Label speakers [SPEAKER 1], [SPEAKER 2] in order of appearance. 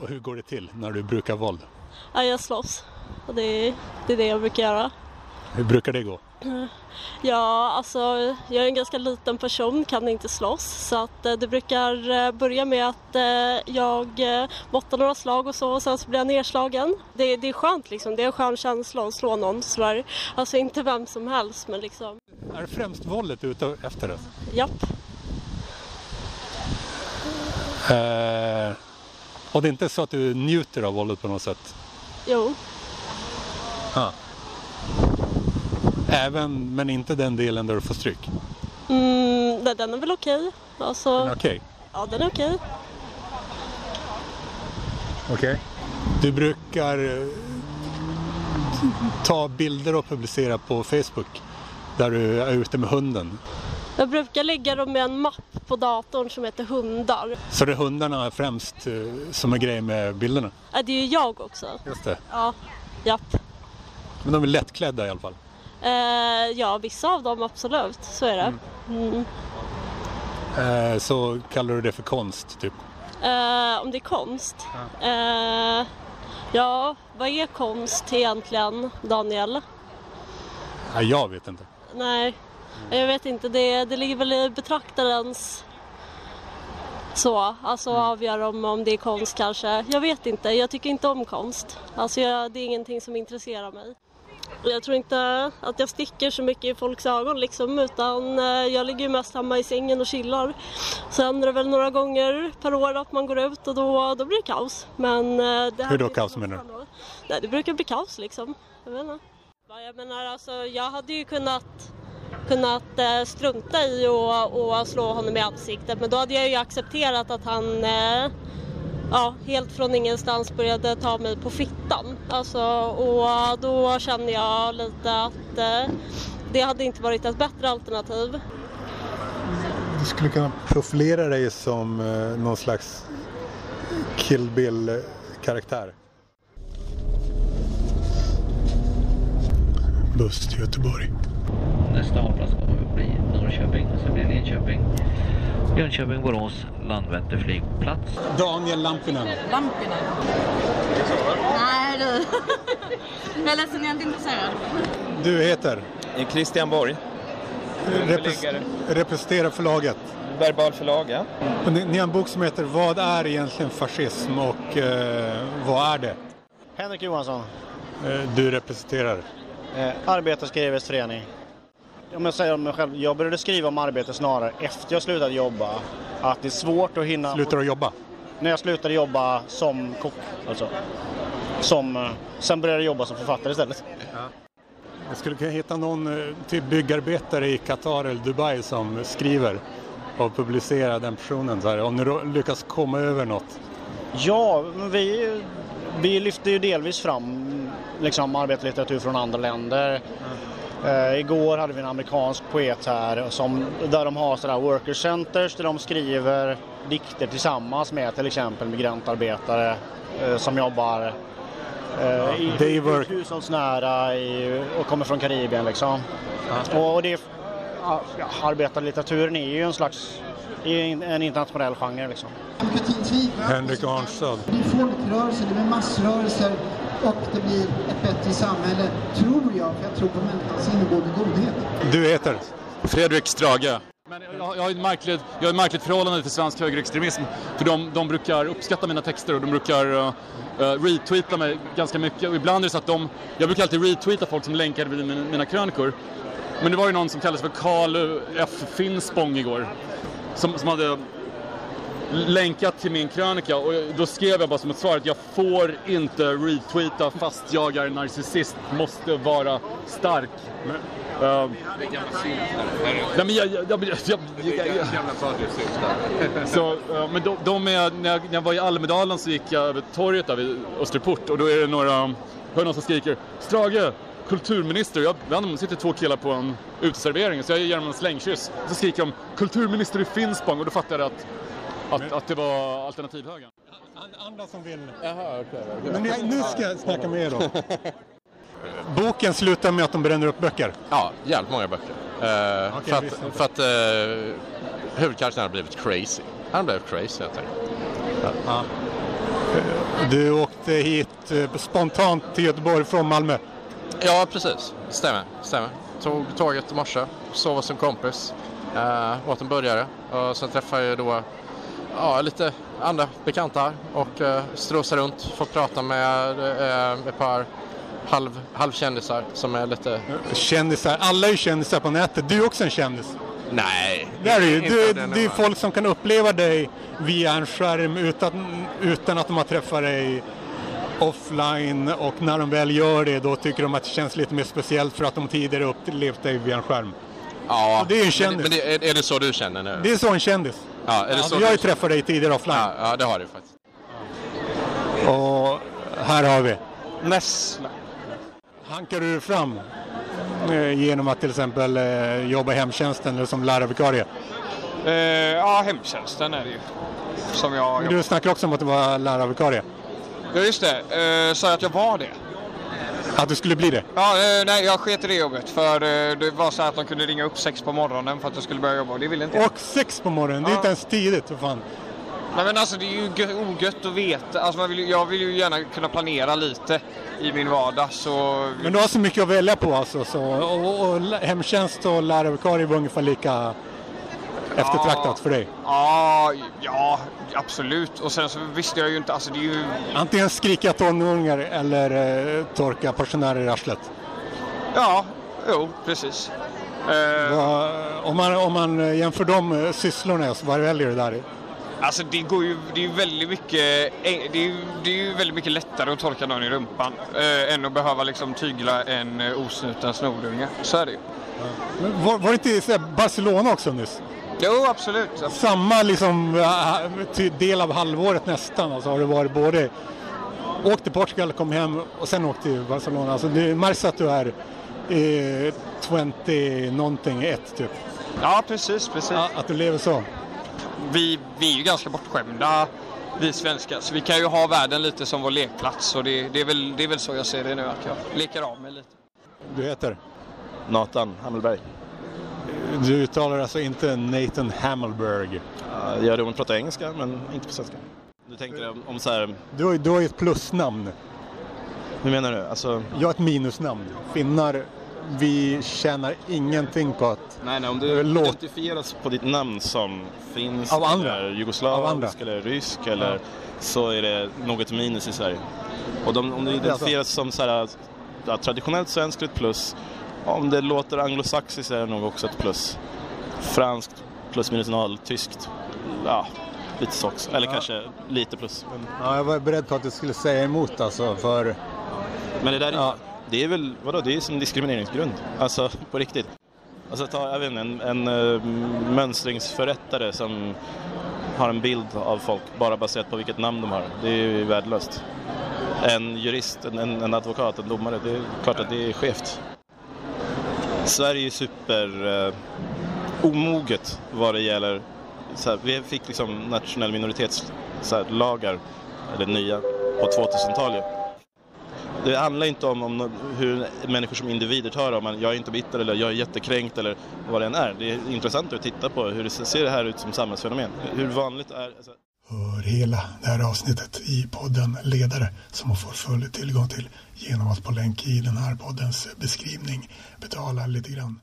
[SPEAKER 1] Och hur går det till när du brukar våld?
[SPEAKER 2] Ja, jag slåss. Och det, är- det är det jag brukar göra.
[SPEAKER 1] Hur brukar det gå?
[SPEAKER 2] Ja, alltså jag är en ganska liten person, kan inte slåss. Så att eh, det brukar eh, börja med att eh, jag eh, bottar några slag och så och sen så blir jag nedslagen. Det, det är skönt liksom, det är en skön känsla att slå någon sådär. Alltså inte vem som helst men liksom,
[SPEAKER 1] Är det främst våldet du är ute efter? det?
[SPEAKER 2] japp.
[SPEAKER 1] Eh, och det är inte så att du njuter av våldet på något sätt?
[SPEAKER 2] Jo,
[SPEAKER 1] Ja. Även, men inte den delen där du får stryk?
[SPEAKER 2] mm, den, den är väl okej. Alltså,
[SPEAKER 1] Okej.
[SPEAKER 2] ja den är okej.
[SPEAKER 1] Okej. Du brukar eh, ta bilder och publicera på Facebook där du är ute med hunden.
[SPEAKER 2] Jag brukar lägga dem med en mapp på datorn som heter hundar.
[SPEAKER 1] Så det är hundarna är främst eh, som är grejen med bilderna?
[SPEAKER 2] Ja, Äh, det är ju jag också.
[SPEAKER 1] Just det.
[SPEAKER 2] Ja, japp.
[SPEAKER 1] Men de är lättklädda i alla fall.
[SPEAKER 2] Eh, ja, vissa av dem absolut, så är det. Mm.
[SPEAKER 1] Eh, så kallar du det för konst, typ.
[SPEAKER 2] Eh, om det är konst? Eh, ja, vad är konst egentligen, Daniel?
[SPEAKER 1] Ja, jag vet inte.
[SPEAKER 2] Nej, jag vet inte. Det, det ligger väl i betraktarens så, alltså
[SPEAKER 1] Mm.
[SPEAKER 2] avgöra om, om det är konst kanske. Jag vet inte, jag tycker inte om konst. Alltså jag, det är ingenting som intresserar mig. Och Jag tror inte att jag sticker så mycket i folks ögon liksom utan eh, jag ligger ju mest hemma i sängen och chillar. Sen är det väl några gånger per år att man går ut och då, då blir det kaos. Men, eh, det här
[SPEAKER 1] Hur då
[SPEAKER 2] är inte
[SPEAKER 1] kaos,
[SPEAKER 2] något
[SPEAKER 1] menar du?
[SPEAKER 2] samma. Nej, det brukar bli kaos liksom. Jag vet inte. Ja, Jag menar alltså, jag hade ju kunnat kunnat eh, strunta i och, och slå honom i ansiktet men då hade jag ju accepterat att han eh, ja, helt från ingenstans började ta mig på fittan. Alltså, och då kände jag lite att eh, det hade inte varit ett bättre alternativ.
[SPEAKER 1] Du skulle kunna profilera dig som eh, någon slags Kill Bill-karaktär. Buss till Göteborg.
[SPEAKER 3] Nästa hållplats kommer att bli Norrköping, sen blir det Linköping, Jönköping, Borås, Landvetter flygplats.
[SPEAKER 1] Daniel Lampinen.
[SPEAKER 4] Lampinen. Nej du. Jag är ledsen, jag är inte intresserad.
[SPEAKER 1] Du heter?
[SPEAKER 5] Christian Borg,
[SPEAKER 1] Repres- representerar förlaget.
[SPEAKER 5] Verbal förlag, ja.
[SPEAKER 1] Och ni, ni har en bok som heter Vad är egentligen fascism och eh, vad är det?
[SPEAKER 6] Henrik Johansson,
[SPEAKER 1] Eh, du representerar.
[SPEAKER 6] eh, Arbetarskrivares förening. Om jag säger om mig själv, jag började skriva om arbete snarare efter jag slutade jobba. Att det är svårt att hinna...
[SPEAKER 1] Slutar att jobba.
[SPEAKER 6] När jag slutade jobba som kock, alltså. Som, eh, sen började jag jobba som författare istället.
[SPEAKER 1] Jag skulle kunna hitta någon eh, till byggarbetare i Qatar eller Dubai som skriver och publicerar den personen. Så här, om ni då lyckas komma över något.
[SPEAKER 6] Ja, men vi, vi lyfter ju delvis fram liksom, arbetarlitteratur från andra länder. Eh, igår hade vi en amerikansk poet här som, där de har sådana worker centers där de skriver dikter tillsammans med till exempel migrantarbetare eh, som jobbar eh, i,
[SPEAKER 1] day work.
[SPEAKER 6] hushållsnära i, och kommer från Karibien. Liksom. Och, och det, är- ja, arbetarlitteraturen är ju en slags är ju en en internationell genre. Liksom.
[SPEAKER 7] Demokratin tvivlar.
[SPEAKER 1] Henrik Arnstad.
[SPEAKER 7] Det blir folkrörelser, det blir massrörelser och det blir ett bättre samhälle, tror jag, för jag tror på människans inneboende godhet.
[SPEAKER 1] Du heter?
[SPEAKER 8] Fredrik Strage. Men jag, jag, har ett märkligt, jag har ett märkligt förhållande till svensk högerextremism. För de, de brukar uppskatta mina texter och de brukar eh, eh, retweeta mig ganska mycket. Och ibland är det så att de... Jag brukar alltid retweeta folk som länkade vid mina, mina krönikor. Men det var ju någon som kallades för Karl eh, F. Finspång igår. Som, som hade länkat till min krönika och jag- då skrev jag bara som ett svar att jag får inte retweeta fast jag är narcissist, måste vara stark. Eh, Nej, men jag... jag, jag, jag, jag, jag, så, eh, men de, de är, när, jag, när jag var i Almedalen så gick jag över torget där vid Österport och då är det några, hör jag någon som skriker Strage, kulturminister. Jag vet inte, det sitter två killar på en uteservering så jag ger dem en slängkyss. Så skriker de kulturminister i Finspång och då fattade jag att, att, att det var alternativhögern.
[SPEAKER 1] Andra som vill. Men jag, nu ska jag snacka med er då. Boken slutar med att de bränner upp böcker.
[SPEAKER 9] Ja, jävligt många böcker. Eh,
[SPEAKER 1] Okej,
[SPEAKER 9] för att,
[SPEAKER 1] visst.
[SPEAKER 9] för att eh, huvudkaraktären har blivit crazy. Han blev crazy helt enkelt.
[SPEAKER 1] Du åkte hit eh, spontant till Göteborg från Malmö.
[SPEAKER 10] Ja, precis. Stämmer. Stämmer. Tog tåget i morse, sov hos en kompis, eh, åt en burgare och sen träffade jag då ja, lite andra bekanta här och eh, strosade runt, fått prata med eh, ett par halv, halvkändisar som är lite...
[SPEAKER 1] Kändisar, alla är ju kändisar på nätet. Du är också en kändis.
[SPEAKER 10] Nej,
[SPEAKER 1] Det är det ju.
[SPEAKER 10] inte
[SPEAKER 1] Du,
[SPEAKER 10] av den
[SPEAKER 1] det är
[SPEAKER 10] nivån.
[SPEAKER 1] folk som kan uppleva dig via en skärm utan, utan att de har träffat dig offline och när de väl gör det då tycker de att det känns lite mer speciellt för att de tidigare upplevt dig via en skärm.
[SPEAKER 10] Ja,
[SPEAKER 1] det är ju en
[SPEAKER 10] Men,
[SPEAKER 1] kändis.
[SPEAKER 10] men det, är, är det så du känner nu?
[SPEAKER 1] Det är så en kändis.
[SPEAKER 10] Ja, är det så
[SPEAKER 1] jag har ju
[SPEAKER 10] du-
[SPEAKER 1] träffat dig tidigare offline.
[SPEAKER 10] Ja, ja, det har du faktiskt.
[SPEAKER 1] Och här har vi.
[SPEAKER 11] Nessla.
[SPEAKER 1] Hankar du fram eh, genom att till exempel eh, jobba i hemtjänsten eller som lärarvikarie?
[SPEAKER 8] Eh, ja, hemtjänsten är det ju. Som jag jobbar
[SPEAKER 1] Du snackar också om att du var lärarvikarie.
[SPEAKER 8] Ja, just det. Eh, sa jag att jag var det?
[SPEAKER 1] Att du skulle bli det.
[SPEAKER 8] Ja, eh, nej, jag sket i det jobbet. För eh, det var så här att de kunde ringa upp sex på morgonen för att jag skulle börja jobba och det ville inte jag.
[SPEAKER 1] Och sex på morgonen, det är
[SPEAKER 8] Ja.
[SPEAKER 1] inte ens tidigt för fan.
[SPEAKER 8] Nej, men alltså det är ju gö- ogött att veta. Alltså, man vill, ju- jag vill ju gärna kunna planera lite i min vardag. Så...
[SPEAKER 1] Men du har så mycket att välja på alltså. Så, och, och, och hemtjänst och lärarvikarie var ungefär lika eftertraktat för dig.
[SPEAKER 8] Ja, ja, absolut. Och sen så visste jag ju inte, alltså det är ju...
[SPEAKER 1] Antingen skrika tonåringar eller eh, torka pensionärer i arslet.
[SPEAKER 8] Ja, jo, precis. Eh,
[SPEAKER 1] Vad- Om man, om man eh, jämför de eh, sysslorna, så vad väljer du där?
[SPEAKER 8] Alltså det går ju, det är ju väldigt mycket, eh, det är, ju- det är ju väldigt mycket lättare att torka någon i rumpan eh, än att behöva liksom tygla en eh, osnuten snorunge. Så är det ju.
[SPEAKER 1] Men Var, var det inte så här Barcelona också nyss?
[SPEAKER 8] Jo, absolut.
[SPEAKER 1] Samma liksom, eh, ty- del av halvåret nästan. Alltså, har du varit både åkt till Portugal, kom hem och sen åkt till Barcelona. Alltså, det märks att du är eh, 20 någonting, ett typ.
[SPEAKER 8] Ja, precis, precis.
[SPEAKER 1] Att du lever så.
[SPEAKER 8] Vi, vi är ju ganska bortskämda, vi svenskar. Så vi kan ju ha världen lite som vår lekplats. Och det, det, är väl, det är väl så jag ser det nu, att jag leker av mig lite.
[SPEAKER 1] Du heter?
[SPEAKER 5] Nathan Hammelberg.
[SPEAKER 1] Du uttalar alltså inte Nathan Hammelberg.
[SPEAKER 5] Ja, Det gör det ont att prata engelska, men inte på svenska. Du tänker om, om så här,
[SPEAKER 1] Du har ju du har ju ett plusnamn.
[SPEAKER 5] hur menar du? Alltså,
[SPEAKER 1] Jag har ett minusnamn. Finnar, vi tjänar ingenting på att...
[SPEAKER 5] nej, nej, om du
[SPEAKER 1] Låt-
[SPEAKER 5] identifieras på ditt namn som finsk,
[SPEAKER 1] Av andra.
[SPEAKER 5] eller
[SPEAKER 1] Av
[SPEAKER 5] jugoslavisk
[SPEAKER 1] andra.
[SPEAKER 5] eller rysk eller så är det något minus i Sverige. Och de, om du identifieras som så här, ja, traditionellt svensk är ett plus. Om det låter anglosaxiskt är det nog också ett plus. Franskt plus minus noll, tyskt, ja, lite så också. Eller
[SPEAKER 1] Ja.
[SPEAKER 5] kanske lite plus. Men,
[SPEAKER 1] Ja, jag var beredd på att du skulle säga emot alltså, för...
[SPEAKER 5] Men det där är-
[SPEAKER 1] Ja.
[SPEAKER 5] det är väl, vadå, det är ju som diskrimineringsgrund. Alltså på riktigt. Alltså ta, jag vet inte, en, en eh, mönstringsförrättare som har en bild av folk bara baserat på vilket namn de har. Det är ju värdelöst. En jurist, en, en, en advokat, en domare, det är klart att det är skevt. Sverige är super eh, omoget vad det gäller, så här, vi fick liksom nationell minoritetslagar, eller nya, på 2000-talet. Det handlar inte om, om hur människor som individer tar det, om man, jag är inte bitter eller jag är jättekränkt eller vad det än är. Det är intressant att titta på hur det ser det här ut som samhällsfenomen. Hur vanligt är... Alltså,
[SPEAKER 12] Hör hela det här avsnittet i podden Ledare som man får full tillgång till genom att på länk i den här poddens beskrivning betala lite grann.